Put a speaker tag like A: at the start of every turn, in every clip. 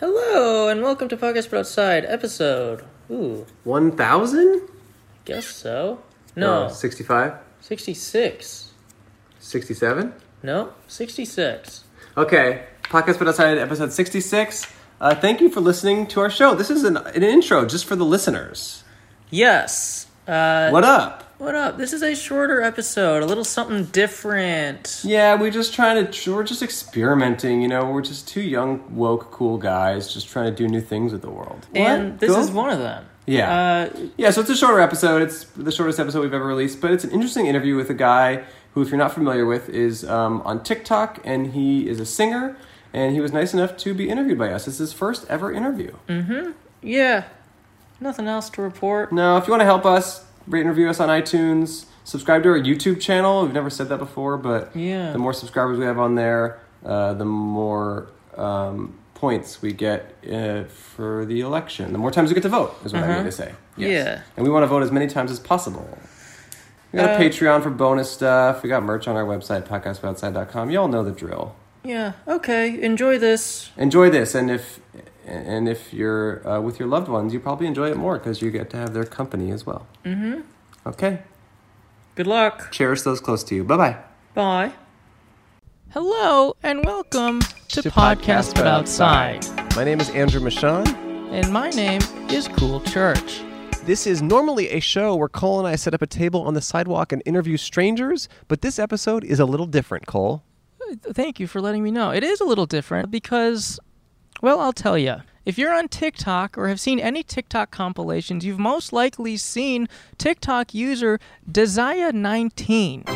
A: Hello and welcome to Podcast Put Outside episode. Ooh,
B: 1,000?
A: guess so. No,
B: Uh, 65?
A: sixty-six.
B: 67?
A: No, sixty-six.
B: Okay, Podcast Put Outside, episode 66. Uh, thank you for listening to our show. This is an, an intro just for the listeners.
A: Yes. Uh,
B: What up?
A: what up? This is a shorter episode, a little something different.
B: Yeah, we're just trying to, we're just experimenting, you know, we're just two young, woke, cool guys just trying to do new things with the world.
A: And
B: What?
A: this
B: Go-
A: is one of them.
B: Yeah.
A: Uh,
B: Yeah, so it's a shorter episode. It's the shortest episode we've ever released, but it's an interesting interview with a guy who, if you're not familiar with, is um, on TikTok and he is a singer. And he was nice enough to be interviewed by us. It's his first ever interview.
A: yeah. Nothing else to report.
B: Now, if you want to help us, rate and review us on iTunes. Subscribe to our YouTube channel. We've never said that before, but
A: Yeah.
B: the more subscribers we have on there, uh, the more um, points we get uh, for the election. The more times we get to vote is what I mean to say.
A: Uh-huh. Yeah.
B: And we want to vote as many times as possible. We got
A: Uh,
B: a Patreon for bonus stuff. We got merch on our website, podcastoutside.com. Y'all know the drill.
A: Yeah. Okay. Enjoy this.
B: Enjoy this, and if and if you're uh, with your loved ones, you probably enjoy it more because you get to have their company as well. Mm-hmm. Okay.
A: Good luck.
B: Cherish those close to you. Bye bye.
A: Bye. Hello and welcome to, Podcast
B: To Podcast
A: But
B: But
A: Outside.
B: My name is Andrew Michon.
A: And my name is Cool Church.
B: This is normally a show where Cole and I set up a table on the sidewalk and interview strangers, but this episode is a little different, Cole.
A: Thank you for letting me know. It is a little different because, well, I'll tell you. If you're on TikTok or have seen any TikTok compilations, you've most likely seen TikTok user Desire19.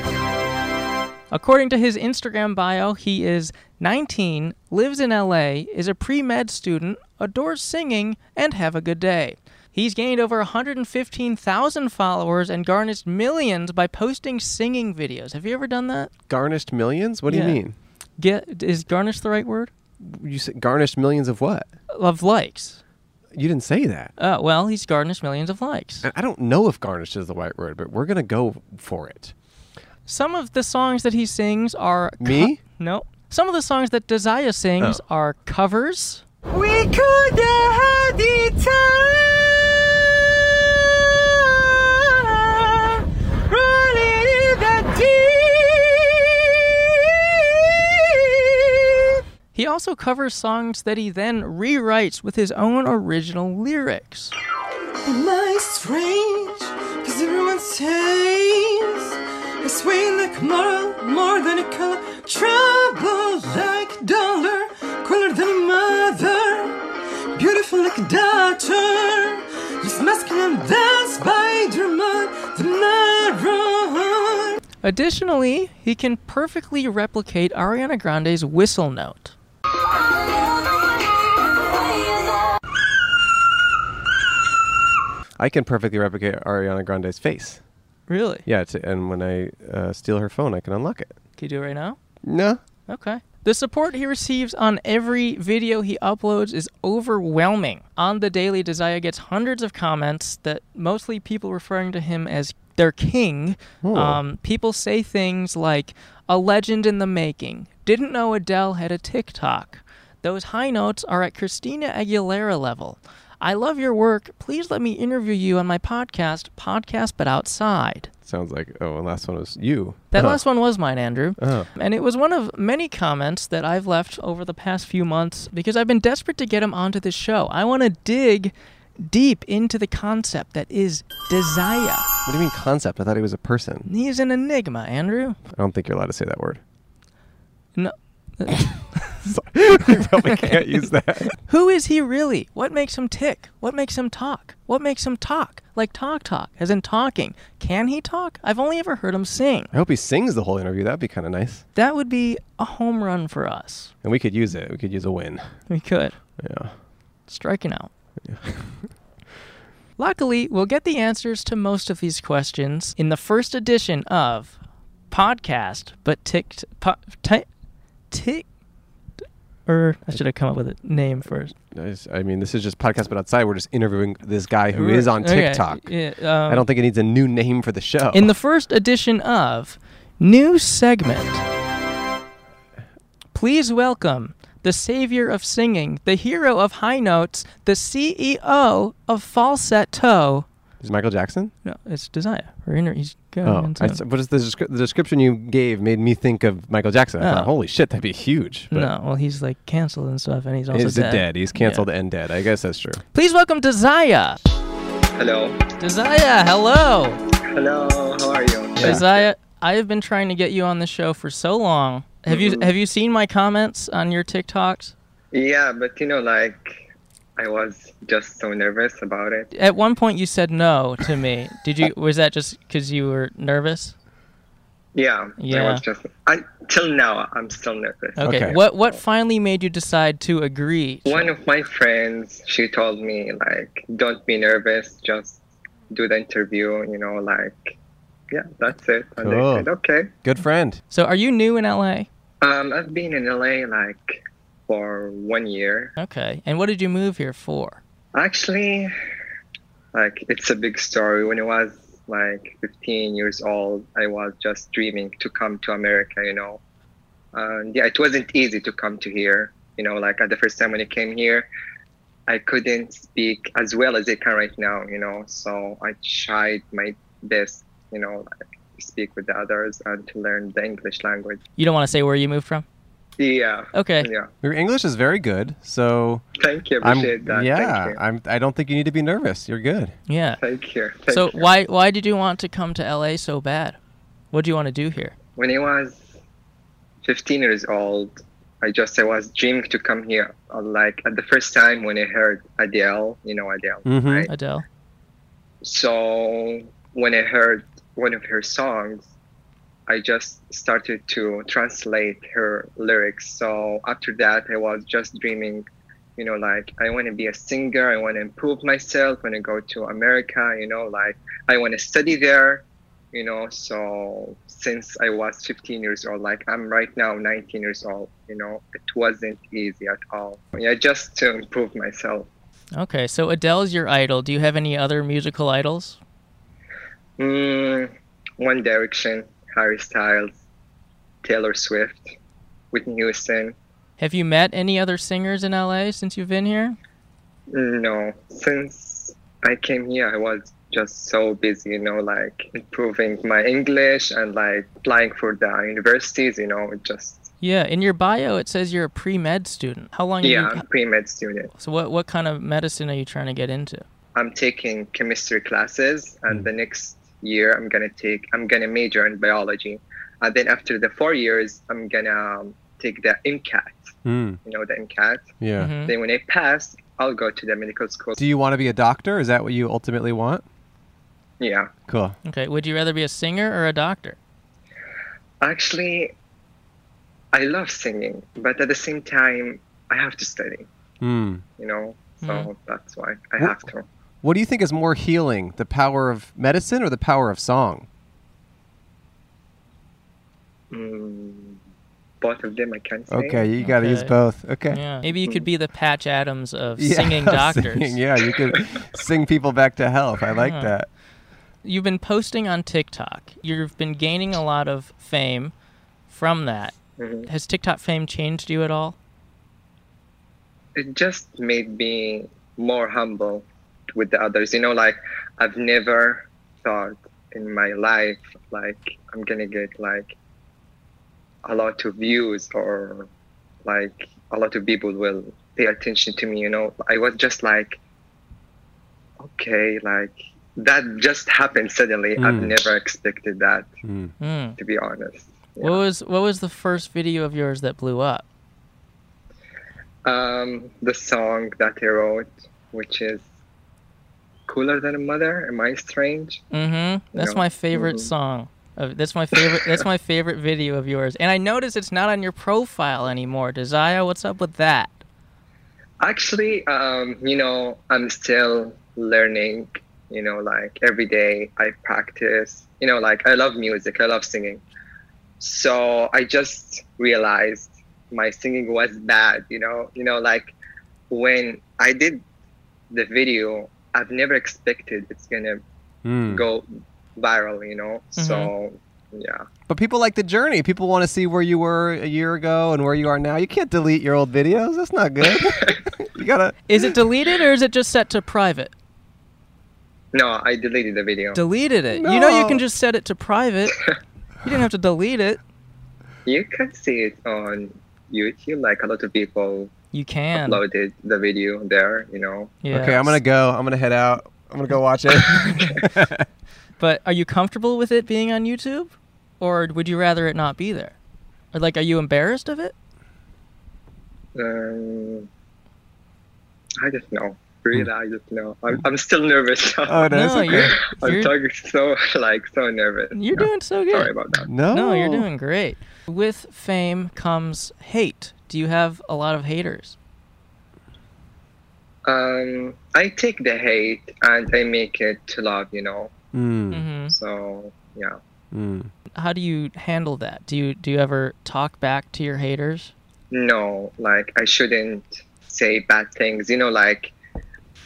A: According to his Instagram bio, he is 19, lives in LA, is a pre med student, adores singing, and have a good day. He's gained over 115,000 followers and garnished millions by posting singing videos. Have you ever done that?
B: Garnished millions? What do
A: Yeah.
B: you mean?
A: get is garnish the right word
B: You said garnished millions of what?
A: of likes
B: You didn't say that.
A: uh, well he's garnished millions of likes
B: I- I don't know if garnished is the right word, but we're going to go for it.
A: some of the songs that he sings are co-
B: Me?
A: no some of the songs that desire sings
B: Oh.
A: are covers
C: We could have had the time running that deep.
A: he also covers songs that he then rewrites with his own original lyrics
C: Am I strange? Cause everyone says I sway like moral more than a color. Trouble like dollar, cooler than a mother, beautiful like a daughter. This masculine, the spider man, the narrow.
A: additionally he can perfectly replicate ariana grande's whistle note
B: I can perfectly replicate Ariana Grande's face.
A: really
B: Yeah, it's, and when I uh, steal her phone, I can unlock it.
A: can you do it right now
B: No.
A: Okay. The support he receives on every video he uploads is overwhelming. On the daily, Desire gets hundreds of comments that mostly people referring to him as their king. Um, people say things like, a legend in the making. Didn't know Adele had a TikTok. Those high notes are at Christina Aguilera level. I love your work. Please let me interview you on my podcast, Podcast But Outside.
B: Sounds like, oh, and last one was you.
A: That
B: Huh.
A: last one was mine, Andrew.
B: Oh.
A: And it was one of many comments that I've left over the past few months because I've been desperate to get him onto this show. I want to dig deep into the concept that is desire.
B: What do you mean concept? I thought he was a person.
A: He is an enigma, Andrew.
B: I don't think you're allowed to say that word.
A: No.
B: Sorry. we probably can't use that.
A: Who is he really? What makes him tick? What makes him talk? What makes him talk? Like talk talk, as in talking. Can he talk? I've only ever heard him sing.
B: I hope he sings the whole interview. That'd be kind of nice.
A: That would be a home run for us.
B: And we could use it. We could use a win.
A: We could.
B: Yeah.
A: striking out. Luckily, we'll get the answers to most of these questions in the first edition of podcast, but ticked po- ti- tick or I should have come up with a name first.
B: Nice. I mean, this is just podcast, but outside we're just interviewing this guy who is on
A: Okay,
B: TikTok.
A: yeah,
B: I
A: um,
B: don't think it needs a new name for the show.
A: in the first edition of new segment. Please welcome the savior of singing, the hero of high notes, the CEO of falsetto.
B: Is Michael Jackson?
A: No, it's Desire. We're in- he's going
B: Oh,
A: into-
B: I, s- but it's the, descri- the description you gave made me think of Michael Jackson. I
A: Oh.
B: thought, holy shit, that'd be huge. But
A: no, well, he's like canceled and stuff, and he's also
B: he's
A: dead.
B: dead. He's
A: Yeah.
B: canceled and dead. I guess that's true.
A: Please welcome Desire.
D: Hello.
A: Desire, hello.
D: Hello. How are you?
A: Isaiah, I have been trying to get you on the show for so long. Have
D: Mm-hmm.
A: you have you seen my comments on your TikToks?
D: Yeah, but you know, like, I was just so nervous about it.
A: At one point, you said no to me. Did you? Was that just because you were nervous?
D: Yeah. I
A: Yeah.
D: was just. I till now I'm still nervous.
A: Okay.
B: Okay.
A: What what finally made you decide to agree?
D: One of my friends, she told me like, don't be nervous. Just do the interview. You know, like, yeah, that's it. And
B: Cool.
D: I said, okay.
B: Good friend.
A: So, are you new in LA?
D: Um, I've been in LA like for one year.
A: Okay. And what did you move here for?
D: Actually, like it's a big story. When I was like 15 years old, I was just dreaming to come to America, you know. And yeah, it wasn't easy to come to here, you know. Like at the first time when I came here, I couldn't speak as well as I can right now, you know. So I tried my best, you know, like to speak with the others and to learn the English language.
A: You don't want to say where you moved from.
D: Yeah.
A: Okay.
D: Yeah.
B: Your English is very good, so
D: Thank you.
B: I'm
D: Appreciate that.
B: yeah.
D: Thank you.
B: I'm. I don't think you need to be nervous. You're good.
A: Yeah.
D: Thank you. Thank
A: So
D: you.
A: why why did you want to come to LA so bad? What do you want to do here?
D: when I was 15 years old, I just I was dreaming to come here. Uh, Like at the first time when I heard Adele, you know Adele,
B: Mhm.
D: right?
A: Adele.
D: So when I heard one of her songs, I just started to translate her lyrics. So after that, I was just dreaming, you know, like I want to be a singer. I want to improve myself. I want to go to America. You know, like I want to study there. You know, so since I was 15 years old, like I'm right now 19 years old, you know, it wasn't easy at all. Yeah, just to improve myself.
A: Okay. So Adele's your idol. Do you have any other musical idols?
D: Mm, One Direction, Harry Styles, Taylor Swift, Whitney Houston.
A: Have you met any other singers in LA since you've been here?
D: No, since I came here, I was just so busy, you know, like improving my English and like applying for the universities, you know, just
A: Yeah, in your bio it says you're a pre-med student. How long?
D: yeah,
A: Have you,
D: I'm pre med student.
A: so what what kind of medicine are you trying to get into?
D: I'm taking chemistry classes, and the next year I'm gonna take I'm gonna major in biology, and then after the four years, I'm gonna um, take the MCAT.
A: Hmm.
B: Mm,
D: You know the MCAT.
B: yeah.
A: Mhm.
D: Then when I pass, I'll go to the medical school.
B: Mm-hmm. Do you want to be a doctor? Is that what you ultimately want?
D: Yeah.
B: Cool.
A: Okay. Would you rather be a singer or a doctor?
D: Actually, I love singing, but at the same time, I have to study,
B: Mm.
D: you know? So
B: Mm-hmm.
A: Mhm.
D: that's why I
B: Wha-
D: have to.
B: What do you think is more healing, the power of medicine or the power of song?
D: Mm, both of them, I can't say.
B: Okay, you got to use
A: Okay.
B: both. Okay.
A: Yeah. Maybe you could be the Patch Adams of
B: Yeah,
A: singing doctors.
B: singing, yeah, you could sing people back to health. I like
A: Yeah.
B: that.
A: You've been posting on TikTok. You've been gaining a lot of fame from that.
D: Mhm.
A: Has TikTok fame changed you at all?
D: It just made me more humble with the others, you know? Like, I've never thought in my life, like, I'm gonna get, like, a lot of views or like a lot of people will pay attention to me you know i was just like okay like that just happened suddenly i've
B: Mm.
D: never expected that
A: Hmm.
D: to be honest
A: What was what was the first video of yours that blew up?
D: um the song that i wrote which is cooler than a mother am i strange
A: Mm-hmm. That's
D: Yeah.
A: my favorite
D: Mhm.
A: song. Of, that's my favorite. that's my favorite video of yours. And I notice it's not on your profile anymore. Desire, what's up with that?
D: actually um you know i'm still learning you know like every day i practice you know like i love music i love singing so i just realized my singing was bad you know you know like when i did the video i've never expected it's gonna
B: Mm.
D: go viral you know so yeah.
B: But people like the journey. People want to see where you were a year ago and where you are now. You can't delete your old videos. That's not good. you gotta.
A: Is it deleted or is it just set to private?
D: No, I deleted the video.
A: Deleted it. You know you
B: No.
A: can just set it to private. You didn't have to delete it.
D: you can see it on YouTube. Like a lot of people
A: You can.
D: uploaded the video there. You know.
A: Yeah.
B: Okay, I'm gonna go. I'm gonna head out. I'm gonna go watch it.
A: But are you comfortable with it being on YouTube, or would you rather it not be there? Or like, are you embarrassed of it?
D: Um, I don't know. Really, I don't know. I'm, I'm still nervous.
B: oh no, it's
A: no,
B: okay.
A: you're
D: I'm
A: you're,
D: talking so like so nervous.
A: you're
D: Yeah.
A: doing so good.
D: Sorry about that.
B: No,
A: No, you're doing great. With fame comes hate. Do you have a lot of haters?
D: Um, I take the hate and I make it to love. You know.
B: Mm,
A: hmm
D: So yeah.
B: mm.
A: How do you handle that? Do you do you ever talk back to your haters?
D: no like i shouldn't say bad things you know like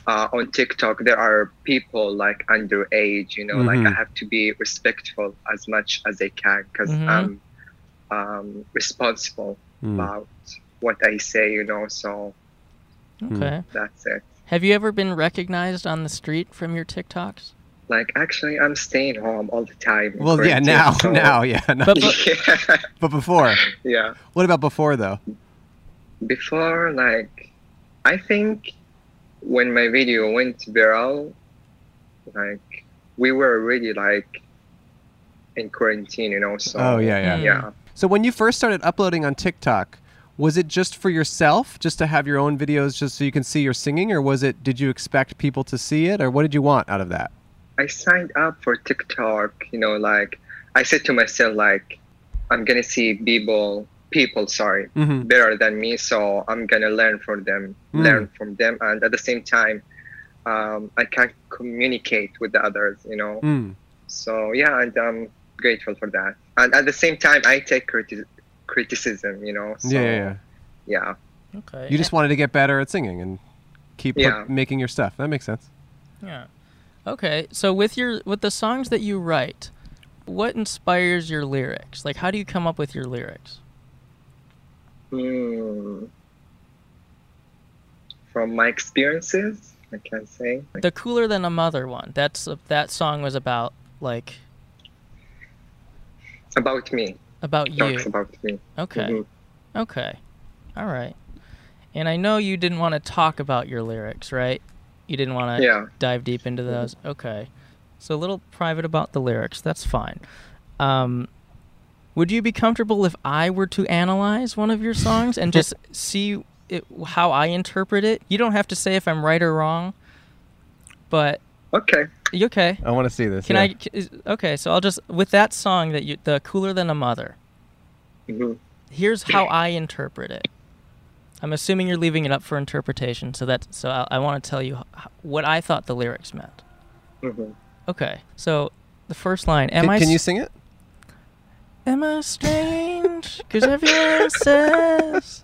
D: uh, on tiktok there are people like underage you know like
B: Mhm.
D: i have to be respectful as much as i can because
A: Mhm.
D: i'm um, responsible
B: Mm-hmm. Mm.
D: about what i say you know so
A: Okay.
D: that's it
A: Have you ever been recognized on the street from your TikToks?
D: like actually i'm staying home all the time in
B: Well, yeah,
D: quarantine,
B: now,
D: so-
B: now, yeah, no.
A: But-
B: but,
A: but-
D: yeah,
B: before.
D: yeah
B: What about before though?
D: before like i think when my video went viral like we were already like in quarantine you know so
B: Oh yeah, yeah.
A: Mm.
D: yeah
B: So when you first started uploading on TikTok, was it just for yourself, just to have your own videos, just so you can see your singing, or was it? Did you expect people to see it, or what did you want out of that?
D: i signed up for tiktok you know like i said to myself like i'm gonna see people people sorry
B: Mm-hmm.
D: better than me so i'm gonna learn from them
B: Mm.
D: learn from them and at the same time um, i can communicate with the others you know
B: Mm.
D: so yeah and i'm grateful for that and at the same time i take criti- criticism you know so,
B: yeah, yeah, yeah.
D: yeah
A: Okay.
B: You just wanted to get better at singing and keep put-
D: Yeah.
B: making your stuff. That makes sense.
A: Yeah. Okay. So with your with the songs that you write, what inspires your lyrics? Like how do you come up with your lyrics?
D: Hmm. from my experiences i can say
A: The cooler than a mother one. That's that song was about like
D: about me
A: about you.
D: talks about me
A: Okay.
D: Mhm.
A: Okay. All right. And I know you didn't want to talk about your lyrics, right? You didn't want to
D: yeah
A: dive deep into those. Okay. So a little private about the lyrics. That's fine. Um, would you be comfortable if I were to analyze one of your songs and just see it, how I interpret it? You don't have to say if I'm right or wrong, but
D: okay
A: you okay?
B: I want to see this.
A: Can
B: yeah.
A: I? c- is- Okay, so I'll just with that song that you, the cooler than a mother.
B: Mm-hmm.
D: Mhm.
A: Here's how I interpret it. I'm assuming you're leaving it up for interpretation, so that's so I, I want to tell you h- what I thought the lyrics meant.
D: Mhm.
A: Okay, so the first line. Am
B: Can,
A: I?
B: Mm-hmm. can you
A: s-
B: sing it?
A: Am I strange? Because everyone says.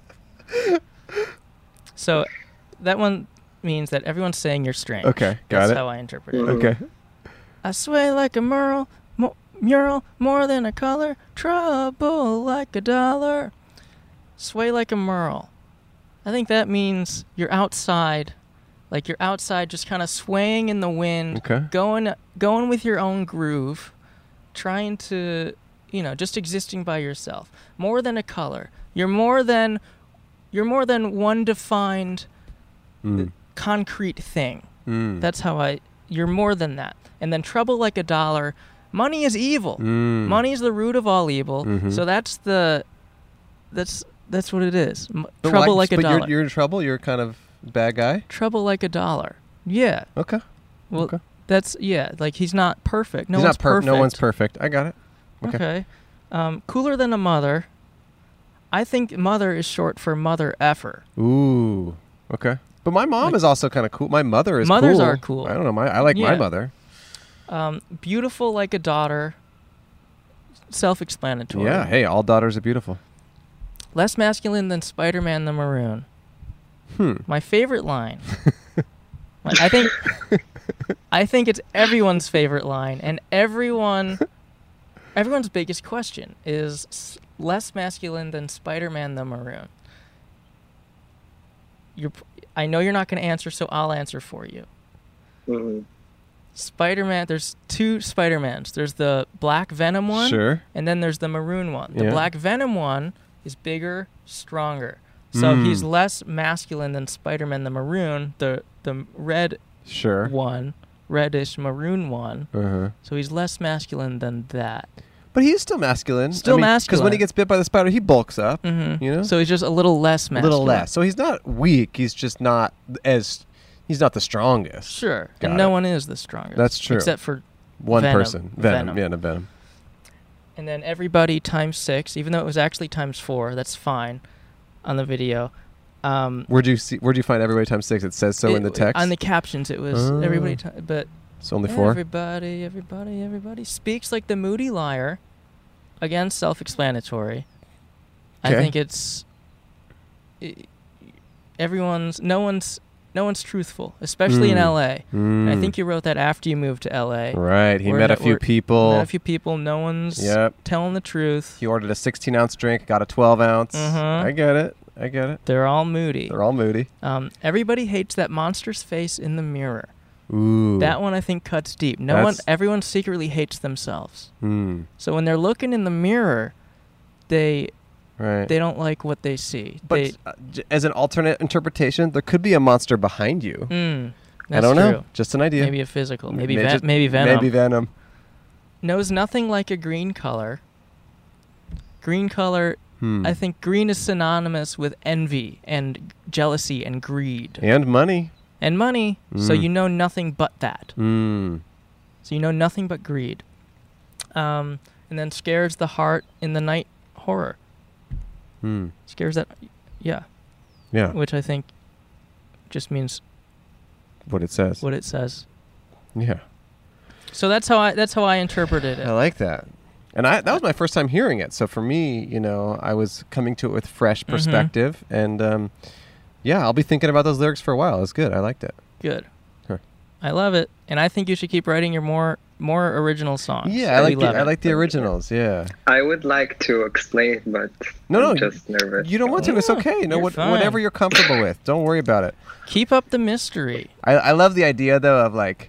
A: So, that one means that everyone's saying you're strange.
B: Okay, got
A: That's
B: it. Mm-hmm.
A: how I interpret it.
D: Mm. Okay.
A: I sway like a mural, mo- mural more than a color. Trouble like a dollar. Sway like a mural. I think that means you're outside, like you're outside, just kind of swaying in the wind,
B: Okay.
A: going going with your own groove, trying to, you know, just existing by yourself. More than a color. You're more than, you're more than one defined
B: Mm.
A: concrete thing.
B: Mm.
A: That's how I. You're more than that. And then trouble like a dollar. Money is evil.
B: Mm.
A: Money is the root of all evil.
B: Mhm.
A: So that's the. That's that's what it is. M-
B: But
A: trouble
B: why-
A: like a
B: but
A: dollar.
B: You're, you're in trouble. You're kind of bad guy.
A: Trouble like a dollar. Yeah.
B: Okay.
A: Well,
B: Okay.
A: that's yeah. Like he's not perfect. No
B: He's
A: one's
B: not per-
A: perfect.
B: No one's perfect. I got it.
A: Okay.
B: Okay.
A: Um, cooler than a mother. I think mother is short for mother effer.
B: Ooh. Okay. But my mom
A: Like-
B: is also kind of cool. My mother is.
A: Mothers
B: cool.
A: are cool.
B: I don't know. My I like my
A: Yeah.
B: mother.
A: Um, beautiful like a daughter. Self-explanatory.
B: Yeah. Hey, all daughters are beautiful.
A: Less masculine than Spider-Man the Maroon.
B: Hmm.
A: My favorite line. My- I think I think it's everyone's favorite line and everyone everyone's biggest question is s- less masculine than Spider-Man the Maroon. You're, p- I know you're not going to answer, so I'll answer for you.
D: Mhm.
A: Spider-Man. There's two Spider-Mans. There's the Black Venom one,
B: Sure.
A: and then there's the Maroon one. The
E: Yeah.
A: Black Venom one is bigger, stronger. So
B: Mm.
A: he's less masculine than Spider-Man the Maroon, the the red
B: Sure.
A: one, reddish maroon one.
B: Uh huh.
A: So he's less masculine than that.
B: But he is still masculine.
A: Still
B: Because when
A: masculine.
B: he gets bit by the spider, he bulks up.
A: Mm-hmm.
B: You know.
A: So he's just a little less
B: a
A: masculine.
B: little less. So he's not weak. He's just not as. He's not the strongest.
A: Sure.
B: Got
A: and no
B: it.
A: one is the strongest.
B: That's true.
A: Except for
B: One
A: Venom.
B: person. Venom.
A: Venom.
B: Yeah, no Venom.
A: and then everybody times six, even though it was actually times four. That's fine on the video. Um,
B: Where'd you see? Where'd you find everybody times six? It says so in the
A: it-
B: text.
A: on the captions, it was
B: Oh.
A: everybody. T- but
B: it's only four.
A: everybody, everybody, everybody speaks like the moody liar. Again, self-explanatory. I
B: Okay.
A: think it's i everyone's. No one's. No one's truthful, especially in
B: Mm.
A: L.A. And I
B: Mm.
A: think you wrote that after you moved to L.A.
B: Right. He
A: We're
B: met a
A: not-
B: few
A: we're-
B: people.
A: Met a few people. No one's
B: Yep.
A: telling the truth.
B: He ordered a 16 ounce drink, got a 12 ounce.
A: Mhm.
B: I get it. I get it.
A: They're all moody.
B: They're all moody.
A: Um, everybody hates that monster's face in the mirror.
B: Ooh.
A: That one I think cuts deep. No one,
B: That's-
A: everyone secretly hates themselves.
B: Hmm.
A: So when they're looking in the mirror, they
B: Right.
A: they don't like what they see.
B: but
A: they,
B: uh, j- as an alternate interpretation, there could be a monster behind you.
A: Mm,
B: I
A: that's
B: don't know.
A: true.
B: Just an idea.
A: Maybe a physical. Maybe
B: May-
A: ven-
B: just-
A: maybe venom.
B: Maybe venom.
A: Knows nothing like a green color. Green color.
B: Hmm.
A: I think green is synonymous with envy and jealousy and greed
B: and money.
A: and money. So
B: Mm.
A: you know nothing but that.
B: Hmm.
A: So you know nothing but greed. Um, and then scares the heart in the night horror.
B: Hmm.
A: Scares that, yeah,
B: Yeah.
A: which I think just means
B: What it says.
A: what it says.
B: Yeah.
A: So that's how I that's how I interpreted
B: I
A: it.
B: like that. And I, that was my first time hearing it. So for me, you know, I was coming to it with fresh
A: Mm-hmm.
B: perspective. And um, yeah, I'll be thinking about those lyrics for a while. It's good. I liked it.
A: Good.
B: Sure.
A: I love it, and I think you should keep writing your more more original songs.
B: Yeah, I
A: We
B: like the,
A: love
B: I
A: it.
B: like the originals. Yeah.
D: I would like to explain, but
B: No, no,
D: I'm just nervous.
B: You don't want to. It's
A: Yeah,
B: okay. You know,
A: you're
B: what,
A: fine.
B: whatever you're comfortable with. Don't worry about it.
A: Keep up the mystery.
B: I, I love the idea though of like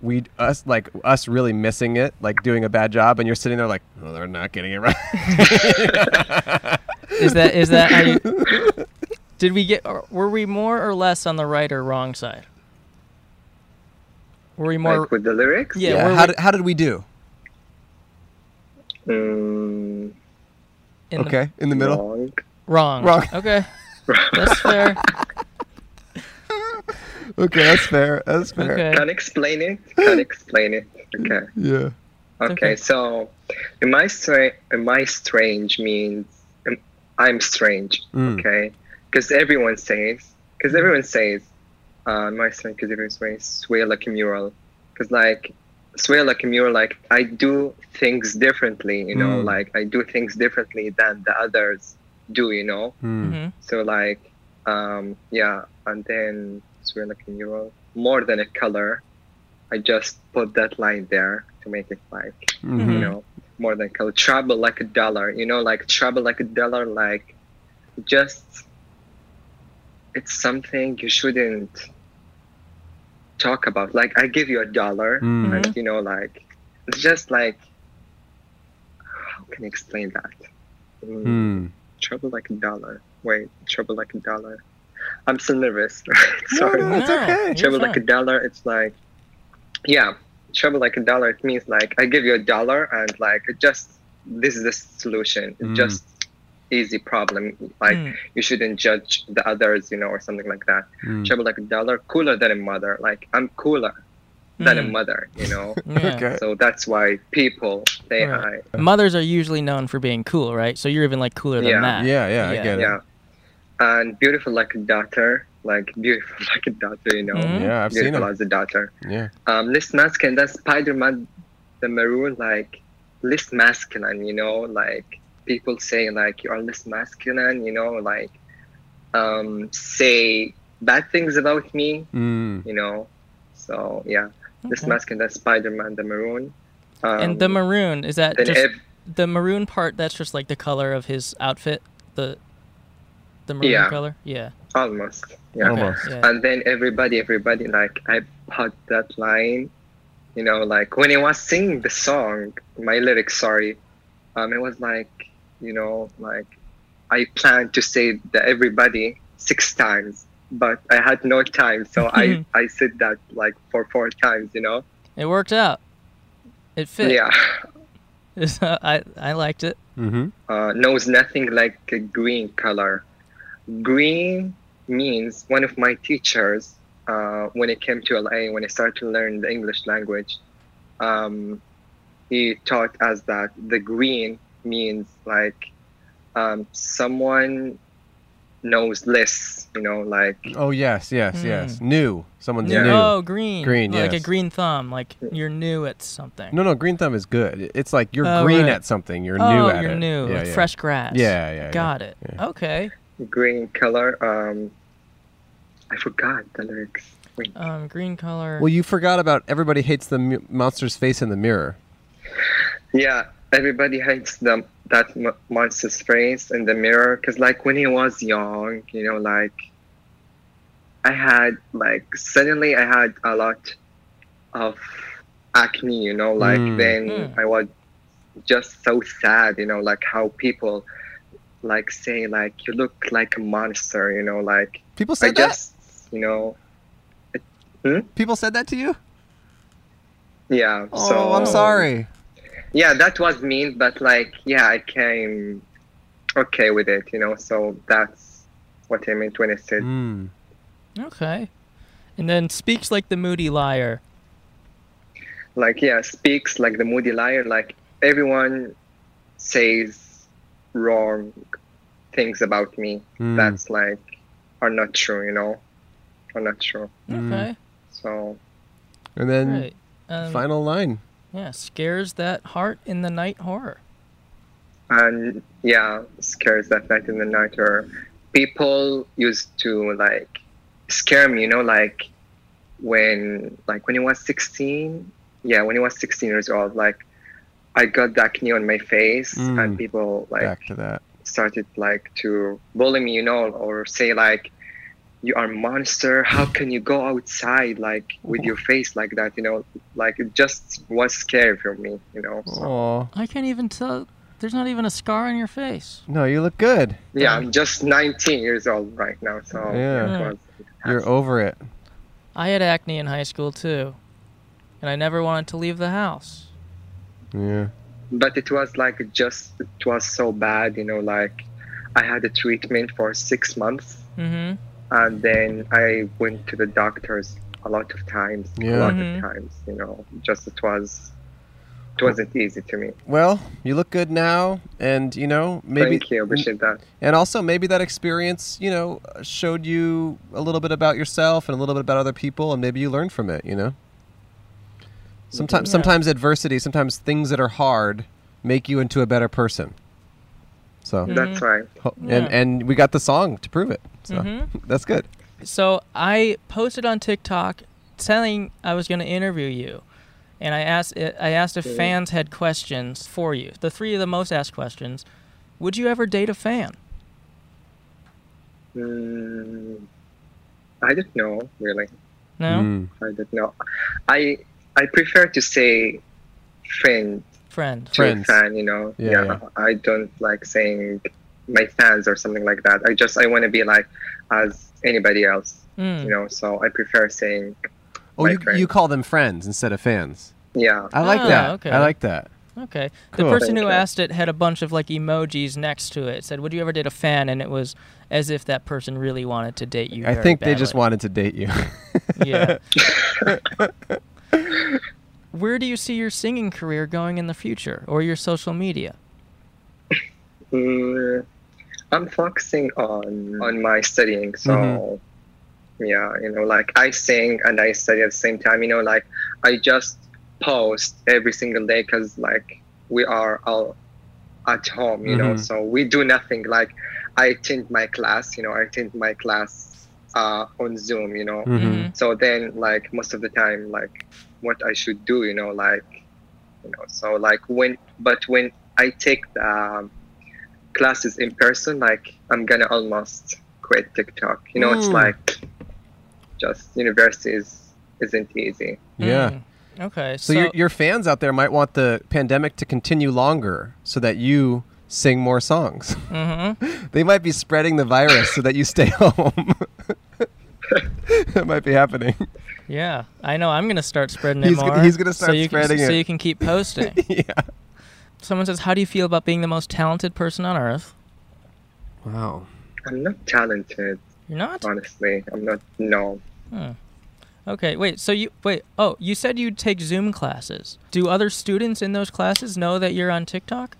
B: we us like us really missing it, like doing a bad job, and you're sitting there like, oh, they're not getting it right.
A: Is that is that? How you, did we get? or Were we more or less on the right or wrong side? Were we more?
D: like with the lyrics.
A: Yeah, we're
B: How
A: like-
B: did, how did we do?
D: Mm,
A: in the-
B: okay, in the middle.
A: Wrong.
D: wrong.
B: Wrong.
A: Okay. That's fair.
B: Okay, that's fair. That's fair.
A: Okay.
D: Can explain it. Can explain it. Okay.
B: Yeah.
D: Okay.
A: okay.
D: So, am I strange? Am I strange means am, I'm strange.
B: Mm.
D: Okay. Because everyone says. Because everyone says. Uh, am I strange? Because everyone says swear like a mural. Because like swear like a mural. Like I do things differently. You know.
B: Mm.
D: Like I do things differently than the others do. You know.
B: Hmm.
A: hmm
D: So like, um, yeah, and then so we're like in Euro more than a color. I just put that line there to make it like you
B: mm-hmm.
A: Mhm.
D: know more than color. Trouble like a dollar, you know, like trouble like a dollar, like just it's something you shouldn't talk about. Like I give you a dollar,
A: Mm-hmm.
B: Mm.
D: and you know, like it's just like how can I explain that?
A: Mm-hmm.
D: Mm.
B: Hmm.
D: Trouble like a dollar. Wait, trouble like a dollar. I'm so nervous.
B: No,
D: Sorry.
B: no, it's
A: Yeah,
B: okay.
A: you're
D: trouble like a
A: fine.
D: dollar. It's like, yeah, trouble like a dollar. It means like I give you a dollar and like it just this is the solution. It's
B: Mm.
D: Just easy problem. Like
A: Mm.
D: you shouldn't judge the others, you know, or something like that.
B: Mm.
D: Trouble like a dollar. Cooler than a mother. Like I'm cooler than a
A: Mm.
D: mother. You know.
A: Yeah.
B: Okay.
D: so that's why people they
A: Right.
D: I
A: Mothers are usually known for being cool, right? So you're even like cooler than
D: Yeah.
A: that.
B: Yeah, yeah, I
A: Yeah.
B: get it.
D: yeah and beautiful like a daughter like beautiful like a daughter you know
A: Mhm.
B: Yeah, I've seen
D: beautiful
B: him.
D: as a daughter
B: Yeah.
D: um less masculine that's spider-man the maroon like less masculine you know like people say like you are less masculine you know like um say bad things about me
B: Mm.
D: you know so yeah less
A: Okay.
D: masculine that's spider-man the maroon Um,
A: and the maroon is that
D: then
A: just
D: ev-
A: the maroon part? That's just like the color of his outfit. The the maroon
D: Yeah.
A: color. Yeah.
D: almost yeah.
A: Okay,
B: Almost.
A: yeah.
D: and then everybody everybody like i put that line you know like when i was singing the song my lyrics sorry um it was like you know like i planned to say the everybody six times but i had no time so i i said that like for four times you know
A: It worked out. It fit.
D: yeah
A: So I I liked it.
B: Mm-hmm.
D: uh, knows nothing like a green color. Green means one of my teachers, uh, when I came to LA, when I started to learn the English language, um, he taught us that the green means like um, someone knows less, you know, like,
B: Oh yes, yes, yes. New. Someone's
D: Yeah.
B: new.
A: Mm. Oh, green.
B: Green,
A: Like
B: yes.
A: a green thumb. Like you're new at something.
B: No, no. Green thumb is good. It's like you're
A: Oh,
B: green
A: right.
B: at something. You're
A: oh,
B: new at
A: you're
B: it.
A: new.
B: Yeah,
A: like
B: yeah.
A: fresh grass.
B: Yeah, yeah. yeah.
A: Got it. Okay.
D: green color. Um, I forgot the lyrics. Wait.
A: Um, green color.
B: Well, you forgot about everybody hates the mu- monster's face in the mirror.
D: Yeah, everybody hates the that m- monster's face in the mirror because, like, when he was young, you know, like, I had like suddenly I had a lot of acne, you know, like
B: Mm.
D: then
A: Mm.
D: I was just so sad, you know, like how people like say like you look like a monster, you know, like
B: People said
D: I
B: that.
D: just you know,
B: People said that to you.
D: yeah.
B: Oh,
D: so
B: I'm sorry.
D: yeah that was mean but like yeah i came okay with it you know so that's what i meant when i said
B: Mm.
A: Okay. And then speaks like the moody liar.
D: like yeah speaks like the moody liar like everyone says wrong things about me
B: Mm.
D: that's like are not true you know are not true
B: Mm.
A: Okay.
D: so
B: And then
A: Right. Um,
B: final line.
A: Yeah. Scares that heart in the night horror.
D: and yeah scares that night in the night or people used to like scare me you know like when like when he was 16 yeah when he was 16 years old like i got the acne on my face
B: Mm.
D: and people like
B: Back to that.
D: started like to bully me you know or say like you are a monster how can you go outside like
B: Oh.
D: with your face like that you know like it just was scary for me you know so
B: Oh
A: I can't even tell. There's not even a scar on your face.
B: no, you look good.
D: Yeah, I'm just 19 years old right now, so
B: Yeah.
D: it was-
B: You're over it.
A: I had acne in high school too, and I never wanted to leave the house.
B: Yeah.
D: But it was like just it was so bad, you know. Like I had a treatment for six months,
A: Mm-hmm.
D: and then I went to the doctors a lot of times,
B: Yeah.
D: a lot
A: Mhm.
D: of times, you know. Just it was it wasn't easy to me.
B: Well, you look good now, and you know maybe.
D: Thank you, appreciate that.
B: And also, maybe that experience, you know, showed you a little bit about yourself and a little bit about other people, and maybe you learned from it. You know, sometimes,
A: Yeah.
B: sometimes adversity, sometimes things that are hard, make you into a better person. So,
D: That's right.
B: ho-
A: Mm-hmm. Yeah.
B: and and we got the song to prove it. So
A: Mhm.
B: that's good.
A: So I posted on TikTok telling I was going to interview you, and I asked eh, I asked if fans had questions for you. The three of the most asked questions: Would you ever date a fan?
D: Mm, I don't know really.
A: No,
B: Mm.
D: I don't know. I I prefer to say friend
A: friend.
D: to a
B: Friends.
D: fan, you know.
B: Yeah,
D: Yeah,
B: yeah.
D: I don't like saying my fans or something like that. I just I want to be like as anybody else,
A: Mm.
D: you know. So I prefer saying
B: Oh,
D: My
B: you,
D: friend.
B: you call them friends instead of fans.
D: yeah.
B: I like
A: Ah,
B: that.
A: okay.
B: I like that.
A: Okay.
B: Cool.
A: The person who
D: Okay.
A: asked it had a bunch of like emojis next to it. It said, "Would you ever date a fan?" And it was as if that person really wanted to date you.
B: I
A: very
B: think they just
A: badly.
B: wanted to date you.
A: Yeah. Where do you see your singing career going in the future, or your social media?
D: Mm, I'm focusing on on my studying, so yeah, you know, like I sing and I study at the same time. You know, like I just post every single day because like we are all at home, you know,
B: Mhm.
D: so we do nothing. Like I attend my class, you know, I attend my class uh, on Zoom, you know.
B: Mhm.
A: Mhm.
D: So then, like most of the time, like what I should do, you know, like you know so like when but when i take the um, classes in person like i'm gonna almost quit tiktok you know it's
B: Mm.
D: like just university is, isn't easy
B: Yeah.
A: Mm. Okay.
B: So, your, your fans out there might want the pandemic to continue longer so that you sing more songs.
A: Mm-hmm.
B: they might be spreading the virus so that you stay home. that might be happening.
A: yeah, I know. I'm gonna start spreading it
B: He's
A: more.
B: gonna- he's gonna start
A: so you
B: spreading
A: can, So
B: it.
A: you can keep posting.
B: yeah.
A: Someone says, "How do you feel about being the most talented person on earth?"
B: Wow.
D: i'm not talented
A: You're not.
D: honestly i'm not no
A: Okay. Wait. So you wait. Oh, you said you take Zoom classes. Do other students in those classes know that you're on TikTok?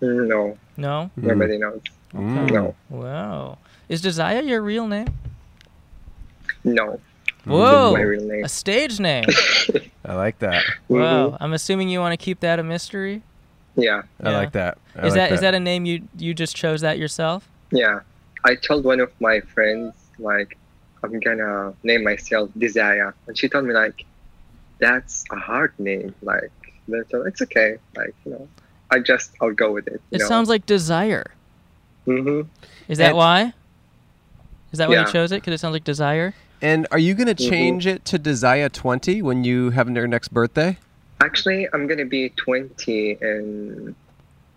D: no
A: No.
D: nobody knows
B: Mm.
D: no
A: Wow. Is Desire your real name?
D: no
A: Whoa.
D: my real name.
A: A stage name.
B: I like that.
A: wow.
B: Mm-hmm.
A: I'm assuming you want to keep that a mystery.
D: yeah
B: I
A: Yeah.
B: like that. I
A: is
B: like
A: that is that a name you you just chose that yourself?
D: yeah i told one of my friends like i'm gonna name myself desire and she told me like that's a hard name like that's- it's okay like you know i just i'll go with it
A: It sounds like Desire.
D: hmm
A: Is that
B: And-
A: why? Is that why
D: Yeah.
A: you chose it? Because it sounds like Desire.
B: And are you going to
D: Mhm.
B: change it to Desire 20 when you have your next birthday?
D: actually i'm gonna be 20 in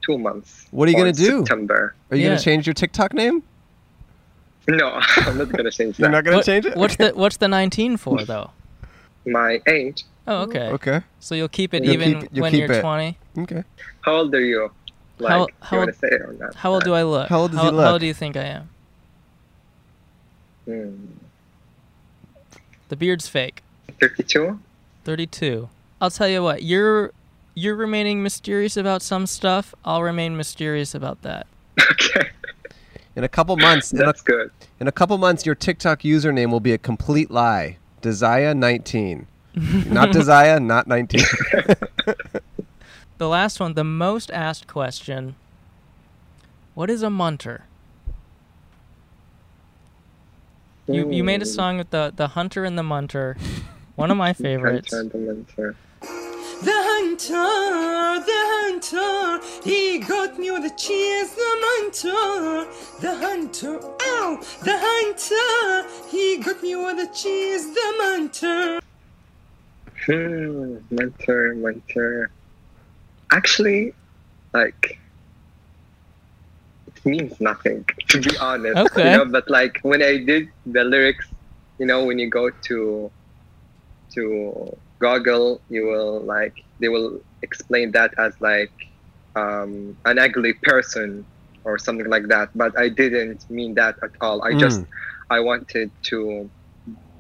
D: two months
B: What are you
D: on
B: gonna do?
D: september
B: Are you going
A: Yeah.
B: to change your TikTok name?
D: no i'm not gonna change
B: You're not
D: that
B: going
A: What-
B: to change it?
A: What's the what's the 19 for though?
D: my age
A: Oh, okay.
B: Okay.
A: So you'll keep it
B: You'll
A: even
B: keep- you'll
A: when
B: keep
A: you're
B: it.
A: 20.
B: Okay.
D: how old are you like
A: How-
D: do
A: how
D: you
A: old-
D: want to say it or not
A: How old do I look?
B: How old does
A: how,
B: he
A: How old
B: look?
A: do you think I am?
D: Hmm.
A: The beard's fake.
D: 52
A: 32. I'll tell you what. You're you're remaining mysterious about some stuff. I'll remain mysterious about that.
D: okay
B: In a couple months, in a,
D: that's good
B: in a couple months, your TikTok username will be a complete lie. Desire 19. not Desire, not 19.
A: The last one, the most asked question. What is a munter? You you made a song with the the hunter and the munter. One of my favorites.
D: Sentimental.
C: The hunter, the hunter, he got me with a chance. The hunter, the hunter, ow, the hunter, he got me with a chance. The hunter.
D: Hmm, mentor, mentor. Actually, like, it means nothing, to be honest.
A: Okay.
D: You know, but like when I did the lyrics, you know, when you go to to Google, you will like they will explain that as like um, an ugly person or something like that. But I didn't mean that at all. I just I wanted to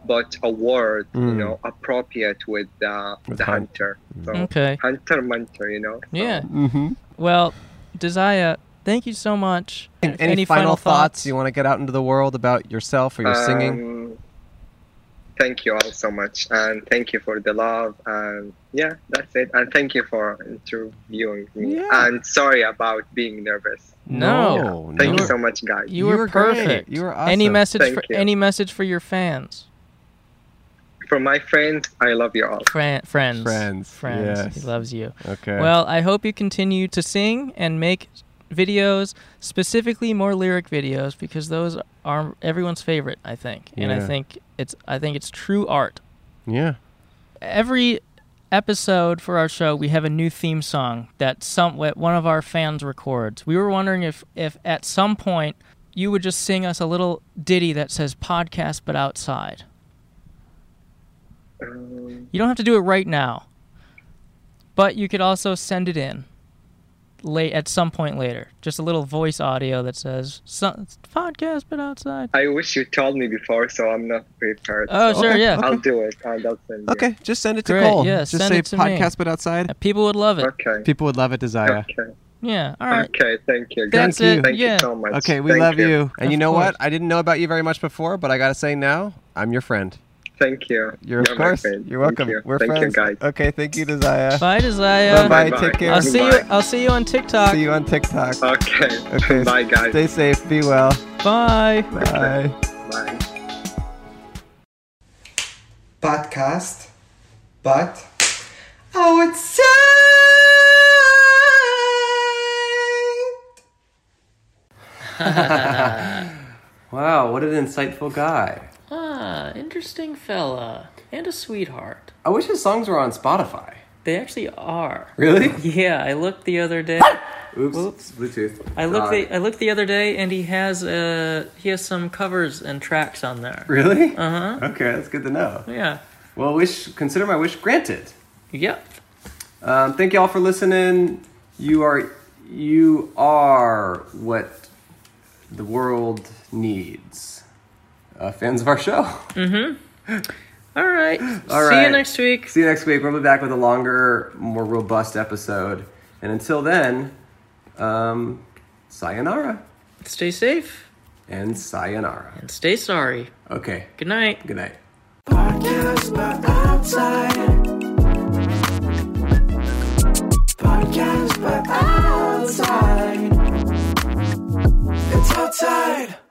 D: but a word, you
B: Mm.
D: know, appropriate with uh,
B: With Mm.
D: the
B: hunt.
D: hunter. So
A: Okay.
D: hunter munter, you know. So,
A: Yeah.
B: mm-hmm.
A: Well, Desire, thank you so much.
B: Any, final, thoughts? you want to get out into the world about yourself or your singing?
D: um, Thank you all so much, and thank you for the love, and yeah, that's it. And thank you for interviewing me.
B: Yeah.
D: And sorry about being nervous.
A: No.
B: No.
D: Thank
B: no.
D: you so much, guys.
A: You,
B: You
A: were,
B: were great.
A: perfect.
B: You were
A: Any
B: awesome.
A: message
D: Thank
A: for
D: you.
A: any message for your fans?
D: For my friends, I love you all.
A: Fran- friends.
B: Friends,
A: Friends. He
B: yes.
A: loves you.
B: Okay.
A: Well, I hope you continue to sing and make videos, specifically more lyric videos because those are everyone's favorite, I think. And I
B: Yeah.
A: think it's I think it's true art.
B: yeah.
A: every episode for our show we have a new theme song that some what one of our fans records we were wondering if if at some point you would just sing us a little ditty that says podcast but outside
D: Um,
A: you don't have to do it right now but you could also send it in late at some point later just a little voice audio that says "So- podcast but outside
D: I wish you told me before, so I'm not prepared.
A: oh
D: so
A: sure
B: Okay.
A: yeah
D: I'll do it. and I'll send you.
B: Okay. Just send it to
A: Great,
B: Cole.
A: yeah,
B: Just
A: send
B: say
A: it to me.
B: podcast, but outside.
A: people would love it
D: Okay.
B: People would love it, Desire.
D: Okay.
A: yeah all right
D: Okay, thank you.
A: That's
D: guys.
B: it,
D: Thank
A: yeah.
D: you so much.
B: Okay, we
D: Thank
B: love you. And
A: Of
B: you know
A: course.
B: what? I didn't know about you very much before, but I gotta say now, I'm your friend.
D: Thank you.
B: You're of
D: my
B: course.
D: friend.
B: You're
D: Thank
B: welcome.
D: you.
B: We're
D: Thank
B: friends.
D: you, guys.
B: Okay, thank you, Desire.
A: bye desire
B: Bye bye.
D: Bye-bye.
B: Take care.
A: i'll see you
D: Goodbye.
A: i'll see you on tiktok
B: See you on TikTok.
D: Okay.
B: Okay.
D: Bye, guys.
B: Stay safe. Be well.
A: bye
B: Bye.
D: Bye.
C: podcast, but outside.
B: Wow, what an insightful guy.
A: Ah, interesting fella. And a sweetheart.
B: I wish his songs were on Spotify.
A: They actually are.
B: Really?
A: Yeah, I looked the other day.
B: Oops. Bluetooth.
A: I looked
B: God.
A: the I looked the other day, and he has uh he has some covers and tracks on there.
B: Really?
A: Uh huh.
B: Okay, that's good to know.
A: Yeah.
B: Well, wish consider my wish granted.
A: Yep.
B: Um, thank you all for listening. You are you are what the world needs. Uh, fans of our show.
A: All right. See
B: All
A: you
B: right.
A: next week.
B: See you next week. We'll be back with a longer, more robust episode. And until then, um, sayonara
A: Stay safe
B: and sayonara.
A: and stay sorry.
B: Okay.
A: Good night.
B: Good night.
F: Podcast but outside. Podcast but outside. It's outside.